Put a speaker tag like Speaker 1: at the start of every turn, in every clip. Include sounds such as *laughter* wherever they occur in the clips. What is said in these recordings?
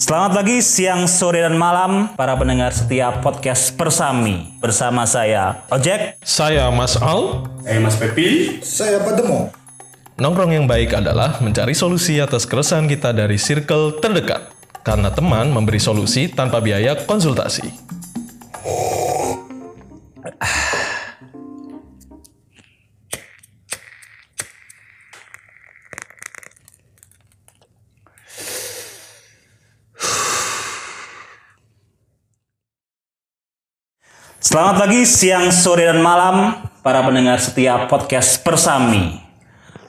Speaker 1: Selamat pagi, siang, sore, dan malam para pendengar setia podcast Persami bersama saya Ojek.
Speaker 2: Saya Mas Al.
Speaker 3: Saya Eh, Mas Pepi.
Speaker 4: Saya Pademo.
Speaker 2: Nongkrong yang baik adalah mencari solusi atas keresahan kita dari circle terdekat. Karena teman memberi solusi tanpa biaya konsultasi.
Speaker 1: Selamat pagi, siang, sore, dan malam para pendengar setia podcast Persami.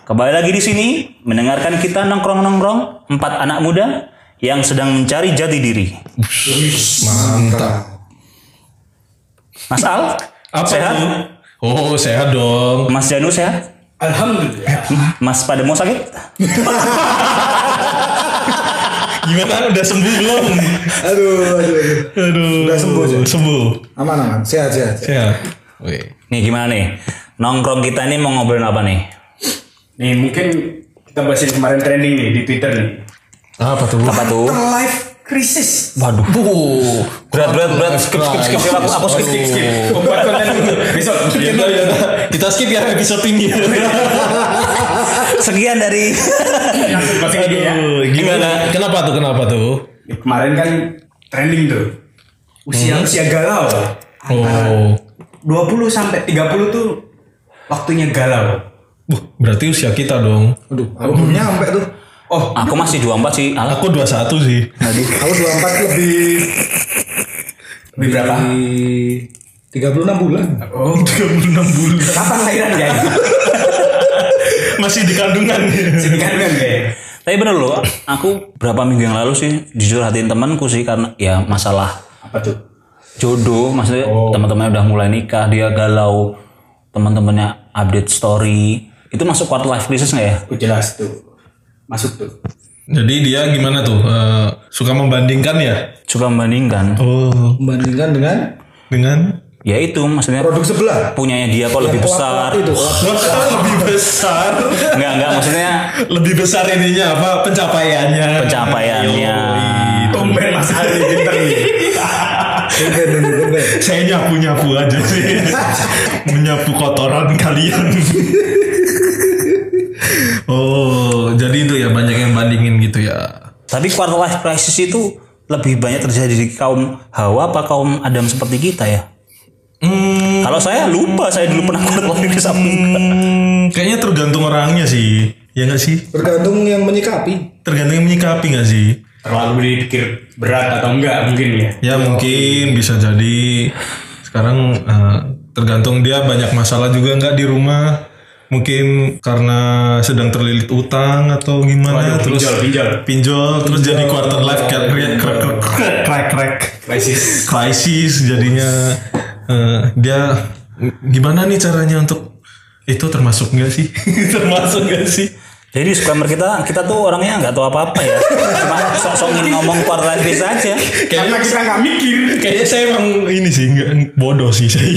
Speaker 1: Kembali lagi di sini mendengarkan kita nongkrong-nongkrong empat anak muda yang sedang mencari jati diri.
Speaker 4: Mantap.
Speaker 1: Mas Al,
Speaker 2: Apa
Speaker 1: sehat?
Speaker 2: itu? Oh, sehat dong.
Speaker 1: Mas Janu sehat?
Speaker 3: Alhamdulillah.
Speaker 1: Mas Pademo sakit?
Speaker 2: Gimana? Udah sembuh belum?
Speaker 4: Aduh, aduh, aduh.
Speaker 2: Aduh.
Speaker 4: Udah sembuh, Cek.
Speaker 2: Sembuh.
Speaker 4: Aman, aman. Sehat, sehat.
Speaker 2: Sehat. Wih.
Speaker 1: Nih gimana nih? Nongkrong kita nih mau ngobrolin apa nih?
Speaker 3: Nih mungkin kita bahas yang kemarin trending nih di Twitter *laughs* nih.
Speaker 2: Apa tuh?
Speaker 1: Apa tuh?
Speaker 4: Oh.
Speaker 3: Life crisis.
Speaker 1: Waduh. Berat berat berat. Skip skip skip. skip. Aku, aku skip.
Speaker 3: Skip skip. Pembuat konten dulu. Besok. iya.
Speaker 2: Kita skip ya episode ini.
Speaker 1: Sekian dari
Speaker 3: Langsung closing aja ya.
Speaker 2: Aduh, gimana? Kenapa tuh? Kenapa tuh?
Speaker 3: Ya, Kemarin kan trending tuh. Usia usia galau.
Speaker 2: Oh.
Speaker 3: 20 sampai 30 tuh waktunya galau.
Speaker 2: Buh, berarti usia kita dong.
Speaker 4: Aduh, aku belum nyampe tuh.
Speaker 3: Oh,
Speaker 1: *laughs* Aku masih 24 sih. Alah.
Speaker 2: Aku 21 sih.
Speaker 4: Aduh, Nah, aku 24 lebih
Speaker 3: lebih berapa?
Speaker 4: lebih 36 bulan.
Speaker 3: *laughs* Oh, 36 bulan. Kapan lahiran ya?
Speaker 2: Masih di kandungan.
Speaker 3: Sedihkan kan ya?
Speaker 1: Tapi bener loh, aku berapa minggu yang lalu sih jujur hatiin temanku sih karena ya masalah
Speaker 3: Apa tuh? Oh.
Speaker 1: jodoh, maksudnya teman-temannya udah mulai nikah, dia galau, teman-temannya update story. Itu masuk quarter life crisis nggak ya?
Speaker 3: Oh, jelas tuh. Masuk tuh.
Speaker 2: Jadi dia gimana tuh? Eh, suka membandingkan ya?
Speaker 1: Coba membandingkan.
Speaker 2: Oh.
Speaker 4: Membandingkan dengan
Speaker 2: Dengan
Speaker 1: Ya itu maksudnya
Speaker 4: produk sebelah.
Speaker 1: punyanya dia kok lebih besar.
Speaker 4: Itu lap-
Speaker 2: lebih besar.
Speaker 1: Enggak enggak maksudnya
Speaker 2: lebih besar ininya apa pencapaiannya?
Speaker 1: pencapaiannya.
Speaker 3: Tumben Mas Ali pinter nih.
Speaker 4: Tumben, tumben, tumben.
Speaker 2: Saya nyapu nyapu aja sih, menyapu kotoran kalian. oh, jadi itu ya banyak yang bandingin gitu ya.
Speaker 1: Tapi quarter life crisis itu lebih banyak terjadi di kaum Hawa apa kaum Adam seperti kita ya?
Speaker 2: Hmm,
Speaker 1: Kalau saya lupa saya dulu pernah quarter life crisis apa enggak.
Speaker 2: kayaknya tergantung orangnya sih, ya nggak sih?
Speaker 4: Bergantung yang menyikapi.
Speaker 2: Tergantung yang menyikapi nggak sih?
Speaker 3: terlalu dipikir berat atau enggak mungkin
Speaker 2: Ya
Speaker 3: ya
Speaker 2: mungkin bisa jadi sekarang eh, tergantung dia banyak masalah juga nggak di rumah. Mungkin karena sedang terlilit utang atau gimana
Speaker 3: Waduh,
Speaker 2: terus
Speaker 3: pinjol, pinjol.
Speaker 2: pinjol, terus jadi quarter life kayak krek krek krek krek krek
Speaker 3: krisis
Speaker 2: crisis jadinya eh, dia gimana nih caranya untuk itu termasuk nggak sih *laughs* termasuk nggak sih
Speaker 1: Jadi disclaimer kita, kita tuh orangnya nggak tahu apa-apa ya. Cuma sok-sokin ngomong quarter life crisis aja.
Speaker 3: karena kita nggak mikir
Speaker 2: kayaknya saya emang ini sih nggak- bodoh sih saya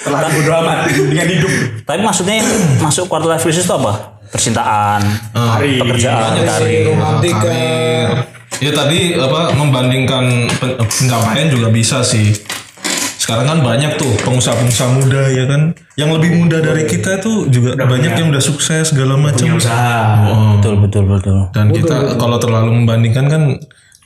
Speaker 3: terlalu bodoh amat dengan hidup
Speaker 1: Tapi maksudnya yang masuk quarter life crisis itu apa? Percintaan,
Speaker 3: hari
Speaker 1: pekerjaan,
Speaker 4: Iya,
Speaker 1: karir.
Speaker 4: Romantika.
Speaker 2: Ya tadi apa membandingkan pen- pencapaian juga bisa sih. Sekarang kan banyak tuh pengusaha-pengusaha muda ya kan, yang lebih muda dari kita tuh juga banyak yang udah Oh, sukses segala macam.
Speaker 3: usaha
Speaker 2: Oh.
Speaker 1: Betul, betul, betul.
Speaker 2: Dan kita kalau terlalu membandingkan kan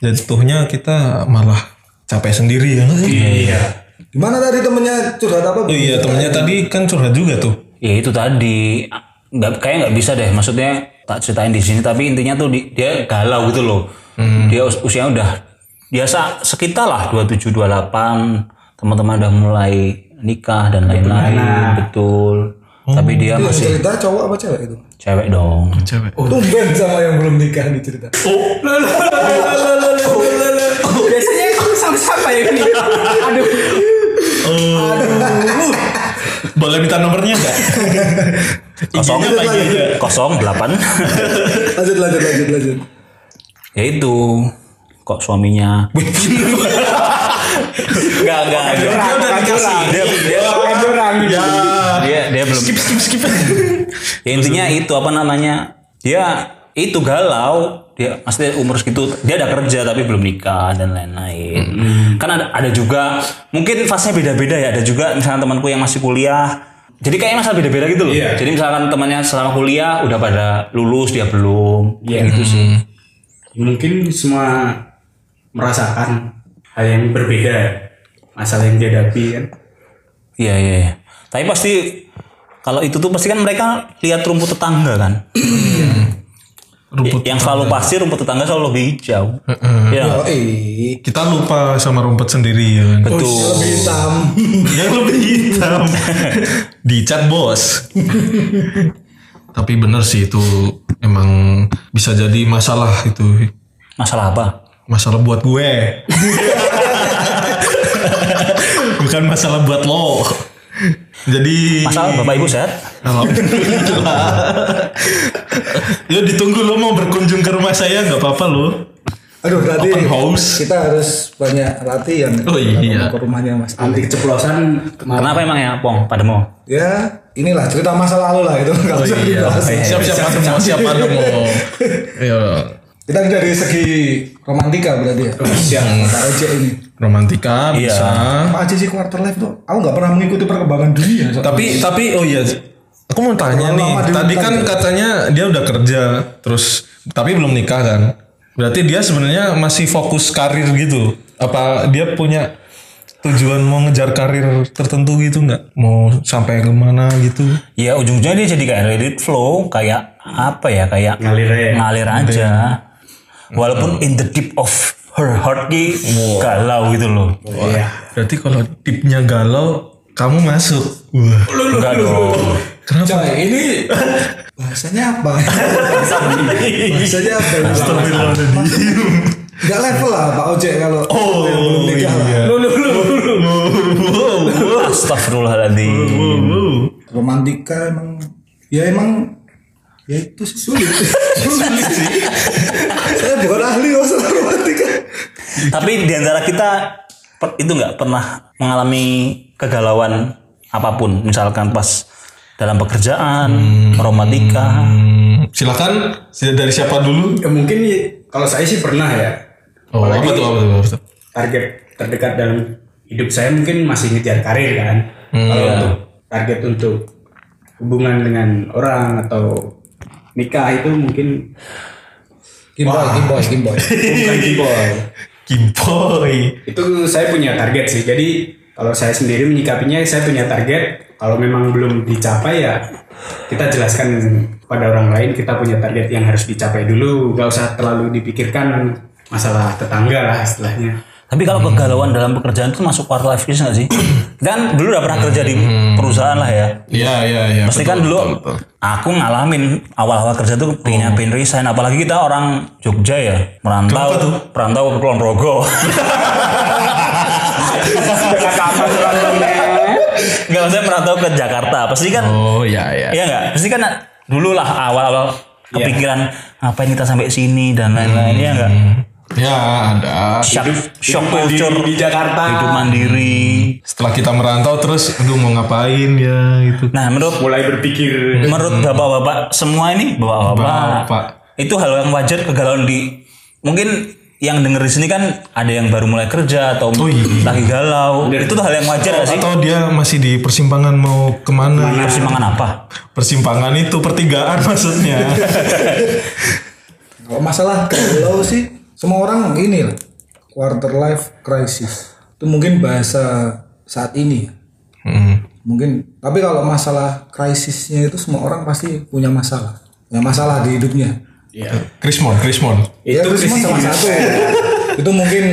Speaker 2: jatuhnya kita malah capek sendiri ya. nggak sih?
Speaker 3: iya
Speaker 4: Gimana tadi temennya curhat apa?
Speaker 2: Oh iya temennya tadi kan curhat juga tuh.
Speaker 1: Ya itu tadi nggak kayak nggak bisa deh. Maksudnya tak ceritain di sini tapi intinya tuh di- dia galau gitu loh. Dia us- usianya udah biasa sekitar lah 27 28. Teman-teman udah mulai nikah dan lain-lain. Betul. Tapi dia
Speaker 4: Yang
Speaker 1: masih
Speaker 4: cerita cowok apa cewek itu?
Speaker 1: cewek dong.
Speaker 2: Cewek.
Speaker 4: Tumben sama yang belum nikah nih cerita. Oh.
Speaker 3: biasanya aku sama siapa ya ini aduh
Speaker 4: Oh.
Speaker 2: Boleh minta nomornya *laughs* nggak?
Speaker 1: Kosong,
Speaker 2: IG-nya apa IG-nya?
Speaker 1: kosong delapan. *laughs*
Speaker 4: Lanjut, lanjut, lanjut, lanjut.
Speaker 1: ya itu kok suaminya *laughs* nggak nggak Eh, dia,
Speaker 3: curang, bukan curang.
Speaker 1: dia, dia,
Speaker 3: Bukan curang.
Speaker 1: dia, dia belum
Speaker 2: Iya. Skip skip skip.
Speaker 1: ya intinya itu apa namanya dia itu galau dia maksudnya umur segitu dia ada kerja tapi belum nikah dan lain-lain kan ada, ada juga mungkin fasenya beda-beda ya ada juga misalkan temanku yang masih kuliah jadi kayaknya masalah beda-beda gitu loh
Speaker 3: Iya.
Speaker 1: jadi misalkan temannya selama kuliah udah pada lulus dia belum
Speaker 3: Iya gitu sih. Mungkin semua merasakan hal yang berbeda ya. Masalah yang dihadapi kan.
Speaker 1: Iya iya. iya. Tapi pasti kalau itu tuh pasti kan mereka lihat rumput tetangga kan.
Speaker 2: Rumput
Speaker 1: yang selalu pasti rumput tetangga selalu lebih hijau. Iya.
Speaker 4: Oh iya.
Speaker 2: kita lupa sama rumput sendiri ya kan?
Speaker 1: Betul.
Speaker 4: Lebih hitam.
Speaker 2: yang lebih hitam *laughs* dicat bos tapi bener sih itu emang bisa jadi masalah itu
Speaker 1: Masalah apa?
Speaker 2: masalah buat gue *laughs* bukan masalah buat lo jadi
Speaker 1: Masalah Bapak Ibu sehat?
Speaker 2: Alhamdulillah. Yo Ya, ditunggu lo mau berkunjung ke rumah saya nggak apa-apa lo.
Speaker 4: Aduh berarti
Speaker 2: Open house.
Speaker 4: kita harus banyak latihan
Speaker 2: Oh, iya.
Speaker 4: ke rumahnya Mas.
Speaker 3: Anti keceplosan kemarin.
Speaker 1: Kenapa emang ya, Pong? Pada mau?
Speaker 4: Ya, inilah cerita masa lalu lah itu nggak usah dibahas.
Speaker 2: Siap-siap Iya. Ya, ada mau Oh, iya. siap ada mau. Yo
Speaker 4: Kita dari segi romantika berarti ya.
Speaker 2: Oh,
Speaker 4: Siap. Pak Ece ini.
Speaker 2: romantika
Speaker 1: Iya.
Speaker 2: bisa.
Speaker 4: Pak Ece sih quarter life tuh. Aku nggak pernah mengikuti perkembangan dunia. soalnya.
Speaker 2: Tapi tapi oh iya aku mau tanya
Speaker 4: Terlalu
Speaker 2: nih.
Speaker 4: lama di
Speaker 2: Tadi
Speaker 4: hutan
Speaker 2: kan
Speaker 4: ya?
Speaker 2: katanya dia udah kerja terus tapi belum nikah kan. Berarti dia sebenarnya masih fokus karir gitu. Apa dia punya tujuan mau ngejar karir tertentu gitu nggak? Mau sampai kemana gitu?
Speaker 1: Ya ujung-ujungnya dia jadi kayak Reddit flow, kayak apa ya? Kayak
Speaker 3: Ngalir aja.
Speaker 1: ngalir aja. Walaupun in the deep of her heart ki galau gitu loh.
Speaker 3: Iya.
Speaker 2: Berarti kalau tipnya galau, kamu masuk. Wah.
Speaker 1: Enggak dong.
Speaker 4: Coy, ini bahasanya apa?
Speaker 1: Iya.
Speaker 4: bahasanya apa? Gak level lah Pak Ojek kalau
Speaker 2: Oh,
Speaker 4: yang belum nikah lah.
Speaker 2: iya.
Speaker 1: Astagfirullahaladzim.
Speaker 4: Romantika emang ya emang ya itu sih *laughs* sulit. sulit sih. Saya bukan ahli masalah romantika.
Speaker 1: Tapi di antara kita per- itu nggak pernah mengalami kegalauan apapun, misalkan pas dalam pekerjaan, romantika.
Speaker 2: Hmm, silakan Si- dari siapa dulu?
Speaker 3: Ya mungkin ya, kalau saya sih pernah ya.
Speaker 2: Oh, apa tuh, apa tuh, apa tuh?
Speaker 3: Target terdekat dalam hidup saya mungkin masih ngejar karir kan.
Speaker 1: Hmm, iya.
Speaker 3: Kalau untuk target untuk hubungan dengan orang atau nikah itu mungkin
Speaker 4: Kimboy, kimboy, kimboy.
Speaker 2: *laughs*
Speaker 3: bukan boy.
Speaker 2: Kimboy.
Speaker 3: Itu saya punya target sih. Jadi kalau saya sendiri menyikapinya saya punya target. Kalau memang belum dicapai ya kita jelaskan pada orang lain kita punya target yang harus dicapai dulu. Gak usah terlalu dipikirkan masalah tetangga lah istilahnya.
Speaker 1: Tapi kalau kegalauan dalam pekerjaan itu masuk quarter life crisis nggak sih? Dan dulu udah pernah kerja di perusahaan lah ya.
Speaker 2: Iya, iya, iya.
Speaker 1: Pasti kan dulu aku ngalamin awal-awal kerja tuh pengen nyapin resign. Apalagi kita orang Jogja ya, merantau, merantau ke Kulon Progo. Nggak maksudnya merantau ke Jakarta. Pasti kan
Speaker 2: Oh, iya, iya.
Speaker 1: Iya nggak? Pasti kan dulu lah awal-awal kepikiran ngapain kita sampai sini dan lain-lain ya nggak?
Speaker 2: Ya, ada.
Speaker 1: Shock, shock
Speaker 3: hidup mandiri
Speaker 1: culture
Speaker 3: di Jakarta.
Speaker 1: hidup mandiri.
Speaker 2: Setelah kita merantau terus, aduh mau ngapain ya gitu.
Speaker 1: Nah menurut
Speaker 3: Mulai berpikir
Speaker 1: menurut bapak-bapak semua ini
Speaker 2: Bapak.
Speaker 1: bapak-bapak itu hal yang wajar kegalauan di mungkin yang denger di sini kan ada yang baru mulai kerja atau
Speaker 2: Oh, iya.
Speaker 1: lagi galau itu tuh hal yang wajar nggak sih
Speaker 2: Atau dia masih di persimpangan mau kemana?
Speaker 1: persimpangan apa
Speaker 2: Persimpangan itu pertigaan *laughs* maksudnya.
Speaker 4: Kalau masalah galau sih semua orang ini lah quarter life crisis. Itu mungkin bahasa saat ini.
Speaker 2: Hmm.
Speaker 4: Mungkin tapi kalau masalah krisisnya itu semua orang pasti punya masalah. Punya masalah di hidupnya.
Speaker 2: Krismon, Krismon.
Speaker 4: Ya, itu semua sama satu. itu mungkin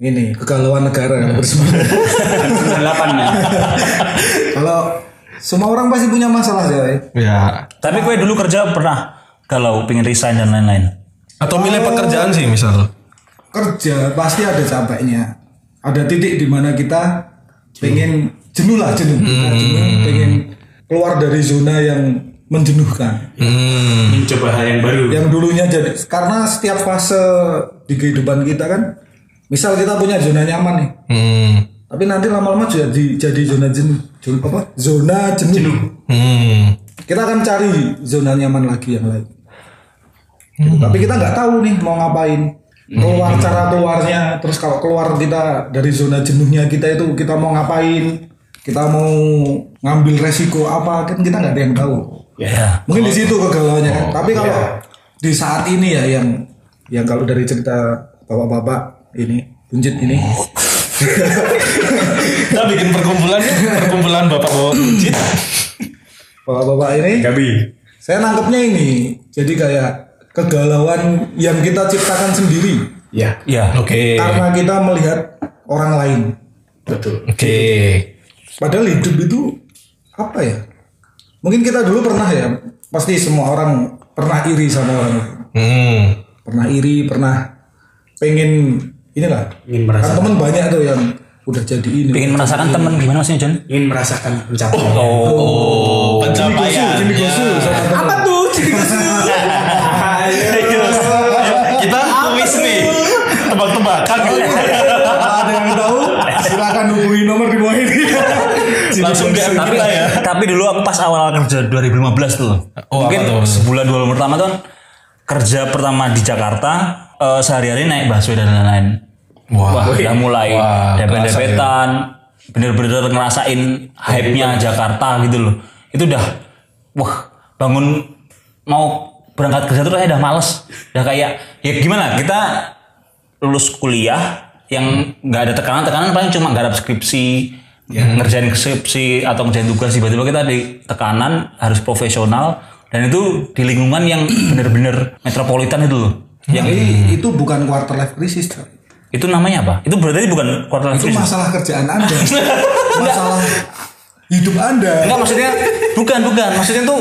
Speaker 4: ini kegalauan negara kalau bersama.
Speaker 3: 98 ya.
Speaker 4: Kalau semua orang pasti punya masalah coy.
Speaker 2: Ya.
Speaker 1: tapi gue dulu kerja pernah galau pengen resign dan lain-lain
Speaker 2: Atau milih pekerjaan sih misal.
Speaker 4: Kerja pasti ada capeknya. Ada titik di mana kita pengen jenuh lah jenuh. Kita jenuh, pengen keluar dari zona yang menjenuhkan.
Speaker 2: Hmm.
Speaker 3: mencoba hal yang baru.
Speaker 2: Ya.
Speaker 4: Yang dulunya jadi karena setiap fase di kehidupan kita kan misal kita punya zona nyaman nih.
Speaker 2: Hmm.
Speaker 4: Tapi nanti lama-lama jadi jadi zona jenuh. Zona apa? Zona jenuh.
Speaker 2: Hmm.
Speaker 4: Kita akan cari zona nyaman lagi yang lain. Gitu. Tapi kita nggak tahu nih mau ngapain. Keluar cara keluarnya, terus kalau keluar kita dari zona jenuhnya kita itu kita mau ngapain? Kita mau ngambil resiko apa? Kan kita nggak ada yang tahu.
Speaker 1: Ya.
Speaker 4: Mungkin di situ kegalauannya kan. Tapi kalau di saat ini ya yang yang kalau dari cerita bapak-bapak ini buncit ini
Speaker 2: Kita bikin perkumpulan ya, perkumpulan bapak-bapak buncit.
Speaker 4: bapak-bapak ini
Speaker 3: Gabi.
Speaker 4: Saya nangkepnya ini, jadi kayak kegalauan yang kita ciptakan sendiri
Speaker 3: Ya,
Speaker 1: Ya.
Speaker 2: Oke.
Speaker 4: karena kita melihat orang lain.
Speaker 3: betul.
Speaker 2: Oke.
Speaker 4: Padahal hidup itu apa ya? Mungkin kita dulu pernah ya, pasti semua orang pernah iri sama orang, lain.
Speaker 2: Hmm.
Speaker 4: pernah iri, pernah pengen inilah.
Speaker 3: Ingin
Speaker 4: Kan
Speaker 3: merasakan
Speaker 4: teman banyak tuh yang udah jadi ini.
Speaker 1: Pengen merasakan teman gimana sih John?
Speaker 3: ingin merasakan pencapaian.
Speaker 2: Oh,
Speaker 4: Jimmy Gosu,
Speaker 2: pencapaian.
Speaker 4: Jimmy Gosu, sama temen.
Speaker 3: Apa tuh? Jadi
Speaker 2: Iya. Kita kuis nih. Tebak-tebakan.
Speaker 4: Oh, iya. Ada yang tahu? Silakan hubungi nomor di bawah ini.
Speaker 2: Langsung DM
Speaker 1: tapi,
Speaker 2: kita ya.
Speaker 1: tapi dulu aku pas awal kerja 2015 tuh.
Speaker 2: Oh,
Speaker 1: mungkin
Speaker 2: apa tuh?
Speaker 1: sebulan dua bulan pertama tuh kerja pertama di Jakarta eh, sehari-hari naik busway dan lain-lain. Wah, udah mulai
Speaker 2: Wah, ya.
Speaker 1: depet-depetan, Kan bener-bener ngerasain hype-nya Jakarta gitu loh. Itu udah wah, bangun mau berangkat kerja tuh saya udah males. Udah kayak ya gimana? Kita lulus kuliah yang nggak ada tekanan-tekanan paling cuma garap skripsi, ngerjain skripsi atau ngerjain tugas tiba-tiba kita di tekanan harus profesional dan itu di lingkungan yang bener-bener metropolitan itu loh. Yang
Speaker 4: Jadi itu bukan quarter life crisis, Cok.
Speaker 1: itu namanya apa? Itu berarti bukan quarter life
Speaker 4: Itu
Speaker 1: crisis.
Speaker 4: masalah kerjaan
Speaker 1: *laughs*
Speaker 4: Anda. masalah hidup Anda.
Speaker 1: Enggak maksudnya bukan bukan maksudnya tuh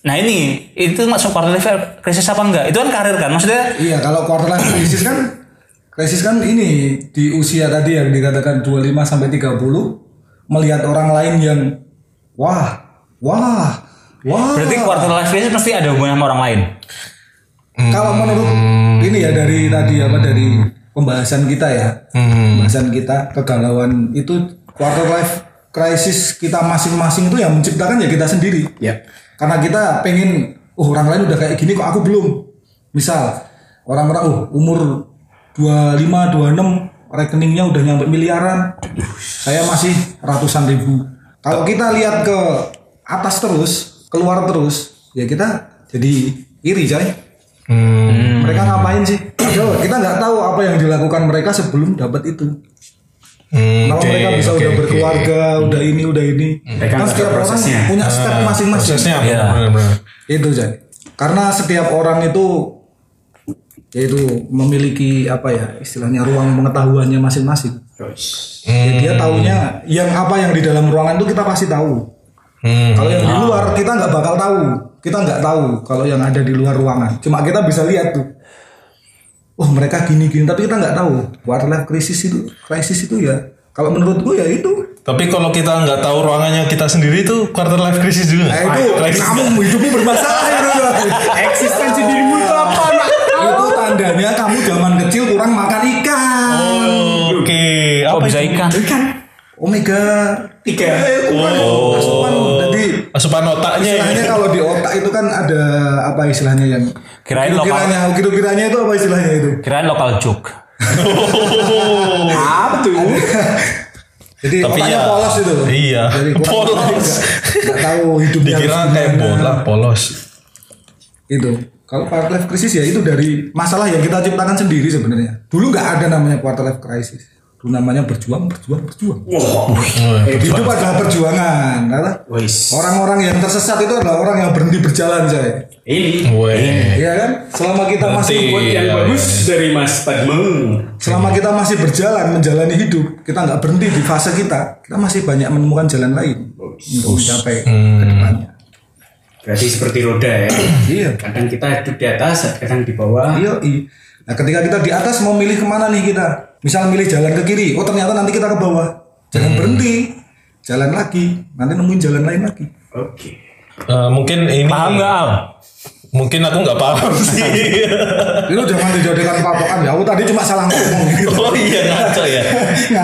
Speaker 1: nah ini itu masuk quarter life crisis apa enggak itu kan karir kan maksudnya
Speaker 4: Iya, kalau quarter life crisis kan krisis kan ini di usia tadi yang dikatakan 25 sampai 30 melihat orang lain yang wah, wah, wah.
Speaker 1: berarti quarter life crisis pasti ada hubungan sama orang lain
Speaker 4: kalau menurut
Speaker 1: Hmm.
Speaker 4: ini ya dari tadi apa dari pembahasan kita ya
Speaker 1: Hmm.
Speaker 4: pembahasan kita kegalauan itu quarter life crisis kita masing-masing itu yang menciptakan ya kita sendiri
Speaker 3: Ya.
Speaker 4: karena kita pengen oh orang lain udah kayak gini kok aku belum misal orang-orang oh umur 25 26 rekeningnya udah nyampe miliaran saya masih ratusan ribu kalau kita lihat ke atas terus keluar terus ya kita jadi iri coy
Speaker 2: Hmm.
Speaker 4: mereka
Speaker 3: Hmm.
Speaker 4: ngapain sih? Padahal kita nggak tahu apa yang dilakukan mereka sebelum dapat itu.
Speaker 3: Hmm.
Speaker 2: Hmm.
Speaker 4: Kenapa mereka bisa udah berkeluarga, udah ini, udah ini. Kan
Speaker 3: Mereka nggak
Speaker 4: setiap
Speaker 3: tahu
Speaker 4: orang
Speaker 3: prosesnya. Ah,
Speaker 4: punya step masing-masing.
Speaker 2: Prosesnya apa?
Speaker 1: Iya.
Speaker 2: Benar-benar.
Speaker 4: Itu jadi. Karena setiap orang itu yaitu memiliki apa ya istilahnya ruang pengetahuannya masing-masing. Ya, dia taunya yang apa yang di dalam ruangan itu kita pasti tahu.
Speaker 2: Hmm.
Speaker 4: Kalau yang di luar kita nggak bakal tahu. Kita nggak tahu kalau yang ada di luar ruangan. Cuma kita bisa lihat tuh. Oh mereka gini-gini tapi kita nggak tahu. Quarter life crisis itu krisis itu ya. Kalau menurut gue ya itu.
Speaker 2: Tapi kalau kita nggak tahu ruangannya kita sendiri tuh quarter life crisis juga.
Speaker 4: Nah, itu
Speaker 2: Crisis.
Speaker 4: kamu hidupnya bermasalah ya, itu.
Speaker 3: Eksistensi dirimu itu apa? Nak?
Speaker 4: itu tandanya kamu zaman kecil kurang makan ikan.
Speaker 2: Oh, Oke,
Speaker 1: kok
Speaker 2: apa
Speaker 1: bisa
Speaker 2: itu?
Speaker 1: ikan
Speaker 4: Ikan omega
Speaker 3: Tiga.
Speaker 4: Eh, kurang asupan. Jadi
Speaker 2: Asupan otaknya ya.
Speaker 4: istilahnya kalau di otak itu kan ada apa istilahnya yang
Speaker 1: Kirain lokal.
Speaker 4: kiranya kiranya itu apa istilahnya itu
Speaker 1: kirain lokal joke
Speaker 3: Apa tuh?
Speaker 4: *laughs* jadi
Speaker 2: Tapi
Speaker 4: otaknya
Speaker 2: ya,
Speaker 4: polos itu
Speaker 2: iya.
Speaker 4: jadi kurang-
Speaker 2: Polos.
Speaker 4: nggak- nggak tahu hidupnya
Speaker 2: Dikira
Speaker 4: harus
Speaker 2: kayak
Speaker 4: gimana.
Speaker 2: bola polos.
Speaker 4: itu Gitu. kalau quarter life crisis ya itu dari masalah yang kita ciptakan sendiri sebenarnya dulu nggak ada namanya quarter life crisis dulu namanya berjuang berjuang berjuang hidup adalah perjuangan karena
Speaker 3: Wis.
Speaker 4: orang-orang yang tersesat itu adalah orang yang berhenti berjalan saya
Speaker 3: Ini
Speaker 2: Weh.
Speaker 4: Iya kan? Selama kita
Speaker 2: Berhenti.
Speaker 4: masih
Speaker 3: buat yang
Speaker 2: Iya,
Speaker 3: bagus dari Mas Padma.
Speaker 4: selama kita masih berjalan menjalani hidup, kita nggak berhenti di fase kita, kita masih banyak menemukan jalan lain untuk mencapai ke depannya.
Speaker 3: Berarti seperti roda ya.
Speaker 4: Iya.
Speaker 3: Kadang kita hidup di atas, kadang di bawah.
Speaker 4: Iya, i. Nah, ketika kita di atas mau milih kemana nih kita? Misal milih jalan ke kiri, oh ternyata nanti kita ke bawah. Jangan berhenti, jalan lagi, nanti nemuin jalan lain lagi.
Speaker 3: Oke.
Speaker 2: Eh, mungkin ini
Speaker 1: paham nggak Al
Speaker 2: Mungkin aku nggak paham *laughs* sih.
Speaker 4: Itu jangan dijadikan patokan ya. Aku tadi cuma salah ngomong. Gitu.
Speaker 2: oh *laughs* iya ngaco ya.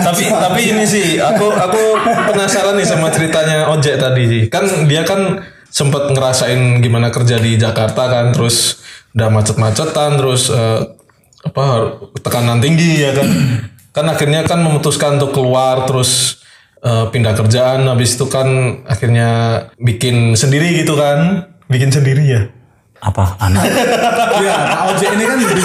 Speaker 2: tapi tapi ini sih aku aku penasaran nih sama ceritanya ojek tadi. Kan dia kan sempat ngerasain gimana kerja di Jakarta kan terus udah macet-macetan terus eh, apa har- tekanan tinggi ya *clears throat* kan kan akhirnya kan memutuskan untuk keluar terus eh, pindah kerjaan habis itu kan akhirnya bikin sendiri gitu kan bikin sendiri ya
Speaker 1: apa anak
Speaker 4: Iya, Pak Ojek ini kan bikin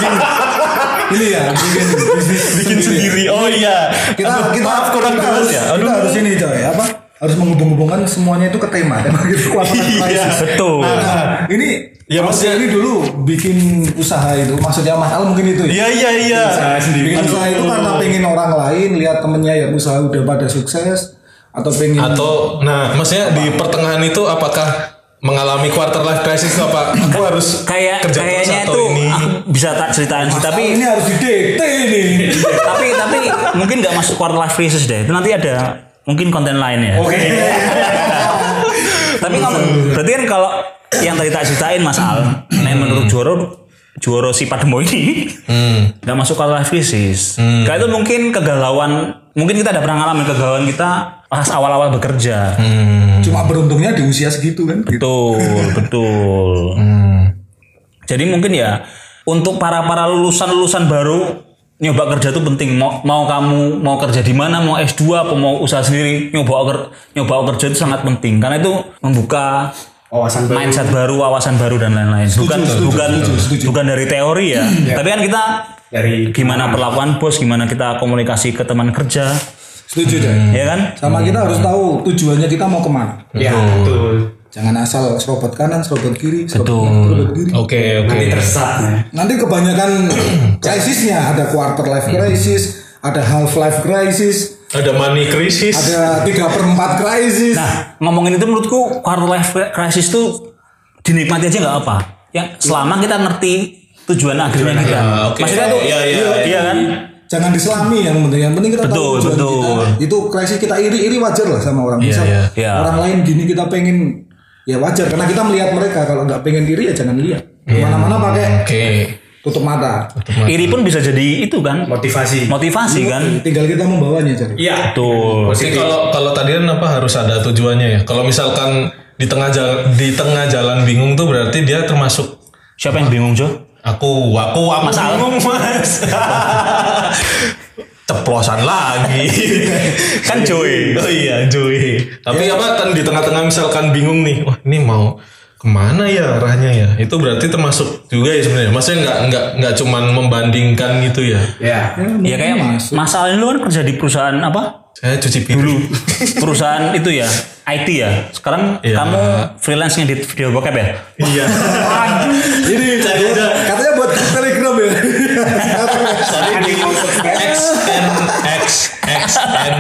Speaker 4: ini ya, bikin bisnis
Speaker 2: bikin sendiri, oh iya
Speaker 4: Kita
Speaker 2: Aduh,
Speaker 4: kita
Speaker 2: maaf kurang
Speaker 4: kita
Speaker 2: jelas
Speaker 4: harus,
Speaker 2: ya
Speaker 4: Kita harus ini coy, apa? Harus menghubung-hubungkan semuanya itu ke tema, tema gitu kekuatan
Speaker 2: Iya,
Speaker 4: krisis.
Speaker 1: betul
Speaker 4: Nah, ini
Speaker 2: Ya,
Speaker 4: Pak Ojek
Speaker 2: maksudnya-
Speaker 4: ini dulu bikin usaha itu, maksudnya Mas Al mungkin itu ya.
Speaker 2: iya iya iya
Speaker 3: Usaha sendiri.
Speaker 4: Bikin usaha itu karena
Speaker 1: Oh.
Speaker 4: pengen orang lain lihat temennya yang usaha udah pada sukses atau pengen
Speaker 2: atau nah maksudnya di pertengahan itu apakah mengalami quarter life crisis itu apa aku harus
Speaker 1: *laughs* kayak
Speaker 2: kerja keras
Speaker 1: kayaknya
Speaker 2: atau
Speaker 1: itu
Speaker 2: ini
Speaker 1: aku bisa tak ceritain sih tapi
Speaker 4: ini harus didekte ini.
Speaker 1: tapi tapi mungkin nggak masuk quarter life crisis deh itu nanti ada mungkin konten lain ya
Speaker 2: oke
Speaker 1: tapi ngomong berarti kan kalau yang tadi tak ceritain mas Al nah, menurut Joro Joro si Pademo ini
Speaker 2: Hmm.
Speaker 1: nggak masuk quarter life crisis kayak itu mungkin kegalauan mungkin kita ada pernah ngalamin kegalauan kita pas awal-awal bekerja
Speaker 4: Cuma beruntungnya di usia segitu kan. gitu.
Speaker 1: Betul, betul. Jadi mungkin ya untuk para para lulusan lulusan baru nyoba kerja itu penting. Mau, mau kamu mau kerja di mana, mau S2 apa mau usaha sendiri, nyoba ker- nyoba kerja itu sangat penting karena itu membuka
Speaker 3: Wawasan baru.
Speaker 1: mindset baru, wawasan baru dan lain-lain. Bukan bukan bukan dari teori ya. Tapi kan kita
Speaker 3: Dari
Speaker 1: gimana perlakuan bos, gimana kita komunikasi ke teman kerja,
Speaker 4: Setuju coy.
Speaker 1: ya kan?
Speaker 4: Sama kita harus tahu tujuannya kita mau kemana.
Speaker 3: Ya, betul.
Speaker 4: Jangan asal serobot kanan, serobot kiri, serobot, kanan, serobot kiri.
Speaker 2: oke oke
Speaker 3: Nanti tersesat ya.
Speaker 4: Nanti kebanyakan krisisnya ada quarter life crisis, ada half life crisis,
Speaker 2: ada money crisis
Speaker 4: ada tiga per empat crisis.
Speaker 1: Nah, ngomongin itu menurutku quarter life crisis tuh dinikmati aja nggak apa. Yang selama kita ngerti tujuan akhirnya kita.
Speaker 2: Ah, oke.
Speaker 1: Maksudnya tuh
Speaker 2: Iya, iya,
Speaker 1: iya kan?
Speaker 4: Jangan diselami yang penting. Yang penting kita
Speaker 1: Betul,
Speaker 4: tahu tujuan
Speaker 1: betul.
Speaker 4: kita. Itu krisis kita iri-iri wajar lah sama orang. Misal
Speaker 2: iya.
Speaker 1: Iya.
Speaker 4: orang lain gini kita pengen ya wajar karena kita melihat mereka kalau nggak pengen iri ya jangan lihat.
Speaker 1: Iya.
Speaker 4: Mana-mana pakai
Speaker 2: oke
Speaker 4: tutup mata.
Speaker 1: Iri pun bisa jadi itu kan
Speaker 3: Motivasi.
Speaker 1: motivasi kan.
Speaker 4: Tinggal kita membawanya jadi.
Speaker 3: Iya.
Speaker 1: Betul.
Speaker 2: Jadi kalau kalau tadi kan apa harus ada tujuannya ya kalau misalkan di tengah jalan di tengah jalan bingung tuh berarti dia termasuk
Speaker 1: Siapa yang bingung, Jo?
Speaker 2: aku aku aku
Speaker 1: Mas Al.
Speaker 2: bingung
Speaker 1: *laughs*
Speaker 2: mas ceplosan lagi
Speaker 1: Kan Joy. Ya.
Speaker 2: oh iya Joy tapi apa kan di tengah-tengah misalkan bingung nih wah ini mau kemana ya arahnya ya itu berarti termasuk juga ya sebenarnya maksudnya nggak nggak nggak cuman membandingkan gitu ya
Speaker 3: Ya.
Speaker 1: Ya kayak masalah lu kan kerja di perusahaan apa?
Speaker 2: saya cuci piring
Speaker 1: Dulu perusahaan itu ya IT ya. Sekarang
Speaker 2: Iya.
Speaker 1: kamu freelance ngedit video bokep ya?
Speaker 2: *laughs* iya
Speaker 4: Ini
Speaker 2: Cari aja.
Speaker 4: katanya buat telegram ya. *laughs*
Speaker 2: X N X X N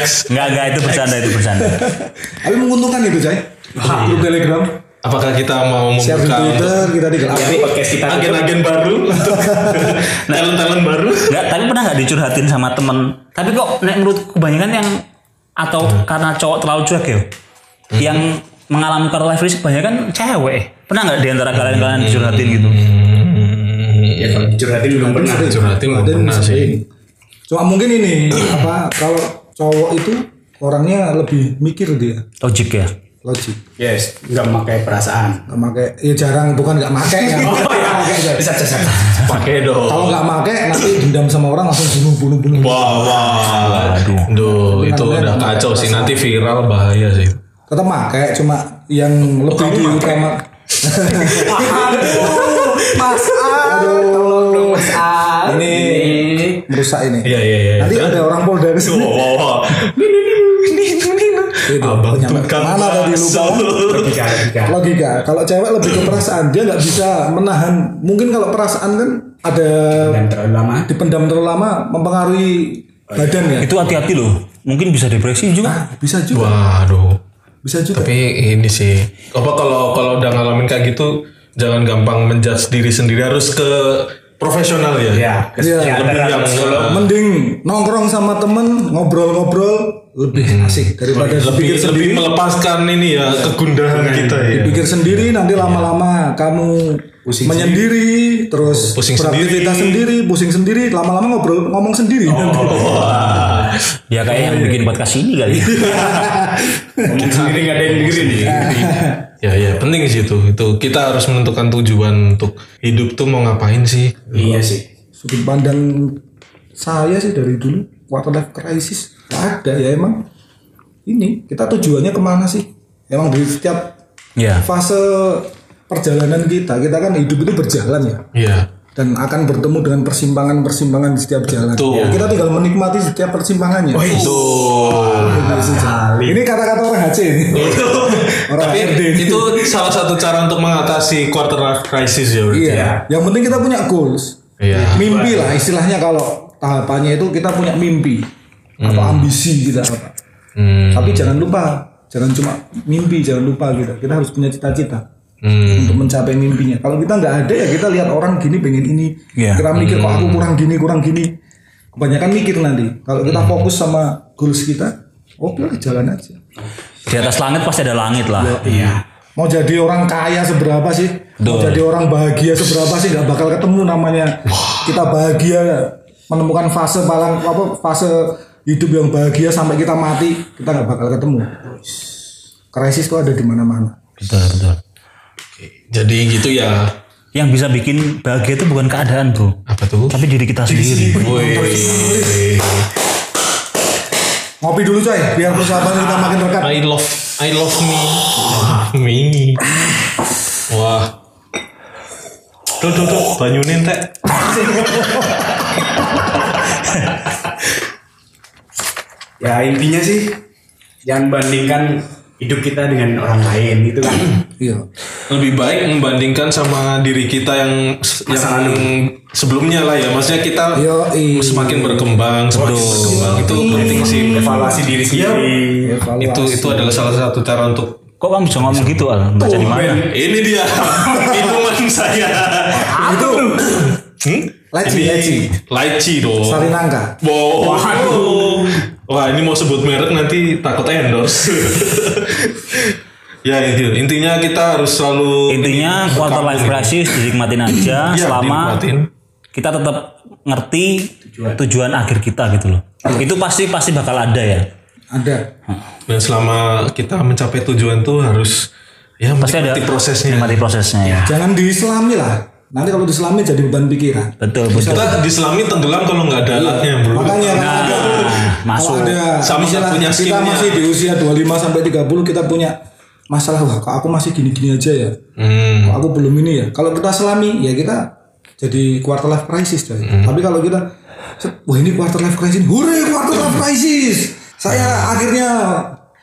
Speaker 2: X
Speaker 1: Enggak, enggak itu bercanda itu bercanda.
Speaker 4: Tapi menguntungkan itu coy.
Speaker 1: Iya.
Speaker 4: Grup telegram,
Speaker 2: apakah kita mau
Speaker 4: share di
Speaker 2: membuka
Speaker 4: Twitter, kita di
Speaker 1: Iya.
Speaker 4: up.
Speaker 3: Jadi podcast kita tuh
Speaker 2: agen-agen baru untuk talent-talent baru
Speaker 1: Nggak, tapi pernah nggak dicurhatin sama temen? Tapi kok nek menurut kebanyakan yang atau karena cowok terlalu cuek ya, yang mengalami quarter life crisis kebanyakan cewek. Pernah nggak di antara kalian kalian dicurhatin gitu?
Speaker 3: ya kalau curhatin belum pernah.
Speaker 2: curhatin belum
Speaker 4: Dan
Speaker 2: pernah
Speaker 4: sering.
Speaker 2: sih
Speaker 4: Cuma mungkin ini apa kalau cowok itu orangnya lebih mikir dia
Speaker 1: Logik ya.
Speaker 4: logik.
Speaker 3: Yes, nggak memakai perasaan.
Speaker 4: Gak make, ya jarang bukan gak make ya.
Speaker 2: *laughs* Oh,
Speaker 4: Nggak make,
Speaker 2: iya.
Speaker 4: coy.
Speaker 3: Bisa bisa.
Speaker 2: pakai dong
Speaker 4: Kalau gak make nanti dendam sama orang langsung bunuh bunuh bunuh.
Speaker 2: wah wah aduh itu
Speaker 4: Tapi
Speaker 2: udah
Speaker 4: kan
Speaker 2: kacau sih nanti viral bahaya sih
Speaker 4: Tetap make cuma yang lebih
Speaker 2: kamu make?
Speaker 4: diutama.
Speaker 3: Aduh, Mas
Speaker 4: Aduh.
Speaker 3: tolong dong Mas Al.
Speaker 4: Ini merusak ini.
Speaker 2: iya iya iya
Speaker 4: Nanti ada orang Polda di sini.
Speaker 2: Wah, wah, *laughs* wah.
Speaker 4: Gitu.
Speaker 2: Abang
Speaker 4: Nyampe
Speaker 2: tukang
Speaker 4: kemana tadi lupa?
Speaker 3: Tiga, tiga.
Speaker 4: Logika. Kalau cewek lebih ke perasaan, dia nggak bisa menahan. Mungkin kalau perasaan kan ada
Speaker 3: Dan terlalu lama.
Speaker 2: Nah.
Speaker 4: dipendam terlalu lama mempengaruhi
Speaker 2: Oh, iya.
Speaker 4: badan ya.
Speaker 1: Itu hati-hati loh. Mungkin bisa depresi juga.
Speaker 4: Ah, bisa juga.
Speaker 2: waduh
Speaker 4: Bisa juga.
Speaker 2: tapi ini sih apa kalau kalau udah ngalamin kayak gitu jangan gampang menjudge diri sendiri harus ke profesional ya
Speaker 3: Ya, kesehatan
Speaker 2: lebih yang
Speaker 3: harus dulu.
Speaker 4: Mending nongkrong sama temen ngobrol-ngobrol lebih asik daripada
Speaker 2: Hmm. lebih
Speaker 4: dipikir
Speaker 2: lebih
Speaker 4: sendiri.
Speaker 2: melepaskan ini ya kegundahan kita ya
Speaker 4: Dipikir sendiri nanti lama-lama kamu menyendiri
Speaker 2: Iya.
Speaker 4: terus
Speaker 2: Pusing Oh.
Speaker 4: beraktivitas sendiri. pusing sendiri, lama-lama ngobrol ngomong sendiri.
Speaker 2: Wah,
Speaker 1: Ya kayaknya yang bikin podcast ini kali.
Speaker 3: Ngomong sendiri nggak ada yang dengerin ya.
Speaker 2: ya ya penting sih itu itu kita harus menentukan tujuan untuk hidup tuh mau ngapain sih
Speaker 3: Iya sih.
Speaker 4: sudut pandang saya sih dari dulu quarter life crisis nggak ada ya emang ini kita tujuannya kemana sih emang dari setiap
Speaker 1: *laughs* ya.
Speaker 4: fase perjalanan kita kita kan hidup itu berjalan ya
Speaker 2: Iya
Speaker 4: dan akan bertemu dengan persimpangan-persimpangan di setiap jalan.
Speaker 2: Betul. iya.
Speaker 4: Ya, kita tinggal menikmati setiap persimpangannya. Oh, Ini kata-kata orang HC ini. *laughs* orang
Speaker 2: Iya.
Speaker 4: Iya.
Speaker 2: tapi
Speaker 4: HRD
Speaker 2: *laughs*
Speaker 4: ini.
Speaker 2: itu salah satu cara untuk mengatasi quarter life crisis ya berarti
Speaker 4: Iya. Yang penting kita punya goals.
Speaker 2: Iya.
Speaker 4: Mimpi lah istilahnya kalau tahapannya itu kita punya mimpi atau ambisi kita apa.
Speaker 2: Hmm,
Speaker 4: Tapi jangan lupa, jangan cuma mimpi, jangan lupa kita. Kita harus punya cita-cita
Speaker 2: hmm.
Speaker 4: untuk mencapai mimpinya. Kalau kita nggak ada ya kita lihat orang gini pengen ini,
Speaker 1: Iya.
Speaker 4: kita mikir kok aku kurang gini kurang gini. Kebanyakan mikir nanti. Kalau kita
Speaker 1: Hmm.
Speaker 4: fokus sama goals kita, oke lah, jalan aja.
Speaker 1: Di atas langit pasti ada langit lah.
Speaker 3: Iya.
Speaker 4: Mau jadi orang kaya seberapa sih? Mau
Speaker 1: Betul.
Speaker 4: jadi orang bahagia seberapa sih? Gak bakal ketemu namanya. Kita bahagia ya. menemukan fase palang apa fase hidup yang bahagia sampai kita mati kita nggak bakal ketemu. Krisis itu ada di mana-mana.
Speaker 1: Betul, betul.
Speaker 2: jadi gitu ya
Speaker 1: Yang bisa bikin bahagia itu bukan keadaan, Bro.
Speaker 2: apa tuh
Speaker 1: Tapi diri kita sendiri.
Speaker 2: Woi.
Speaker 4: Ngopi dulu coy, biar persahabatan kita makin dekat.
Speaker 2: I love I love me me wah tuh tuh tuh banyunin teh
Speaker 3: Ya intinya sih jangan bandingkan hidup kita dengan orang lain gitu kan.
Speaker 4: Iya.
Speaker 2: lebih baik membandingkan sama diri kita yang
Speaker 3: Masa
Speaker 2: yang sebelumnya lah ya maksudnya kita
Speaker 4: Yoi.
Speaker 2: semakin berkembang semakin berkembang itu penting sih
Speaker 3: iya.
Speaker 2: Iya.
Speaker 3: Evaluasi diri
Speaker 4: Iya.
Speaker 3: sendiri.
Speaker 4: Evaluasi.
Speaker 2: itu itu adalah salah satu cara untuk
Speaker 1: Kok kamu bisa ngomong gitu, Al? Baca di mana?
Speaker 2: ini
Speaker 3: *laughs*
Speaker 2: dia minuman saya
Speaker 4: itu
Speaker 2: hmm?
Speaker 4: Leci,
Speaker 2: Ini
Speaker 4: leci.
Speaker 2: leci dong
Speaker 4: sari nangka.
Speaker 2: Wow. Wah ini mau sebut merek nanti takut endorse. *laughs* ya itu intinya kita harus selalu
Speaker 1: Intinya quarter life crisis dinikmatin aja
Speaker 2: Iya,
Speaker 1: selama
Speaker 2: dinikmatin.
Speaker 1: kita tetap ngerti tujuan. akhir kita gitu loh. Itu pasti pasti bakal ada ya.
Speaker 4: Ada.
Speaker 2: dan Nah, selama kita mencapai tujuan tuh harus ya
Speaker 1: Pasti ada
Speaker 2: menikmati prosesnya. Iya.
Speaker 1: Nikmati prosesnya ya.
Speaker 4: Jangan diislami lah. Nanti kalau diislami jadi beban pikiran.
Speaker 1: Betul, betul.
Speaker 2: Kita diselami tenggelam kalau nggak ada alatnya bro.
Speaker 4: Makanya kalau ada,
Speaker 1: masuk.
Speaker 4: kalau ada
Speaker 2: Nah, Sama
Speaker 4: misalnya
Speaker 2: nggak punya
Speaker 4: kita
Speaker 2: skillnya.
Speaker 4: masih di usia 25 sampai 30 kita punya masalah wah kok aku masih gini-gini aja ya.
Speaker 2: Hmm.
Speaker 4: Kok aku belum ini ya. Kalau kita selami ya kita jadi quarter life crisis coy. Tapi kalau kita set, wah ini quarter life crisis. Hore quarter life crisis. Saya akhirnya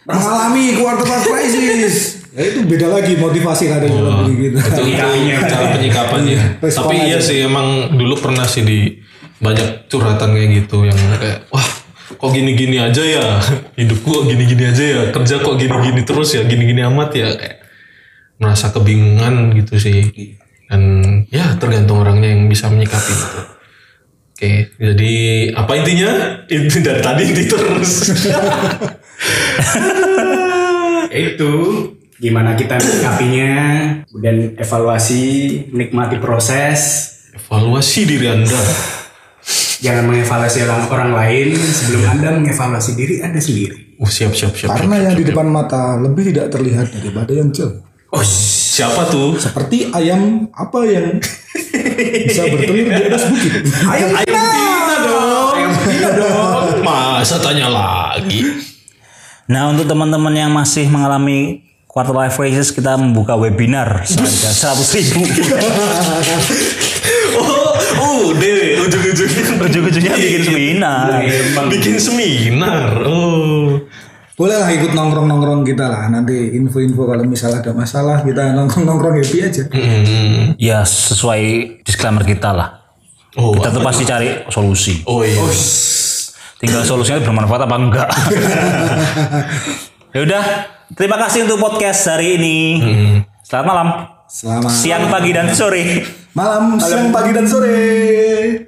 Speaker 4: mengalami quarter life crisis. ya itu beda lagi motivasi kadang dalam diri kita.
Speaker 2: Itu- itu cara penyikapannya.
Speaker 4: Iya. Respon
Speaker 2: Tapi iya
Speaker 4: aja.
Speaker 2: sih emang dulu pernah sih di banyak curhatan kayak gitu yang kayak wah kok gini-gini aja ya hidupku kok gini-gini aja ya kerja kok gini-gini terus ya gini-gini amat ya kayak merasa kebingungan gitu sih dan ya tergantung orangnya yang bisa menyikapi itu. Oke, jadi apa intinya? Itu dari tadi inti
Speaker 4: *laughs*
Speaker 2: terus.
Speaker 3: Itu gimana kita menyikapinya, kemudian evaluasi, nikmati proses,
Speaker 2: Evaluasi diri Anda.
Speaker 3: jangan mengevaluasi orang, orang lain sebelum Anda mengevaluasi diri Anda sendiri.
Speaker 2: Uh, siap siap siap.
Speaker 4: Karena yang di depan mata lebih tidak terlihat daripada yang jauh.
Speaker 2: Oh, siapa tuh?
Speaker 4: Seperti ayam apa yang *laughs* bisa bertelur di atas bukit. Ayam
Speaker 2: Ayam Tina dong. Ayam Tina dong. Masa tanya lagi.
Speaker 1: Nah, untuk teman-teman yang masih mengalami quarter life crisis, kita membuka webinar seharga 100
Speaker 2: *laughs*
Speaker 1: ribu.
Speaker 2: Iya, Oh, oh, deh, ujung-ujungnya
Speaker 1: Ujung-ujungnya bikin seminar.
Speaker 2: Iya, bikin seminar. Oh.
Speaker 4: Bolehlah ikut nongkrong-nongkrong kita lah. Nanti info-info kalau misalnya ada masalah kita nongkrong-nongkrong happy aja.
Speaker 2: Hmm.
Speaker 1: Ya, sesuai disclaimer kita lah.
Speaker 2: Oh,
Speaker 1: Kita
Speaker 2: apa-
Speaker 1: tuh pasti cari solusi.
Speaker 2: Oh iya.
Speaker 1: Tinggal solusinya bermanfaat apa
Speaker 2: *laughs*
Speaker 1: enggak. ya udah, terima kasih untuk podcast hari ini.
Speaker 2: Hmm. Mm.
Speaker 1: Selamat malam,
Speaker 4: Selamat
Speaker 1: siang, pagi, dan sore.
Speaker 4: malam, siang, pagi dan sore.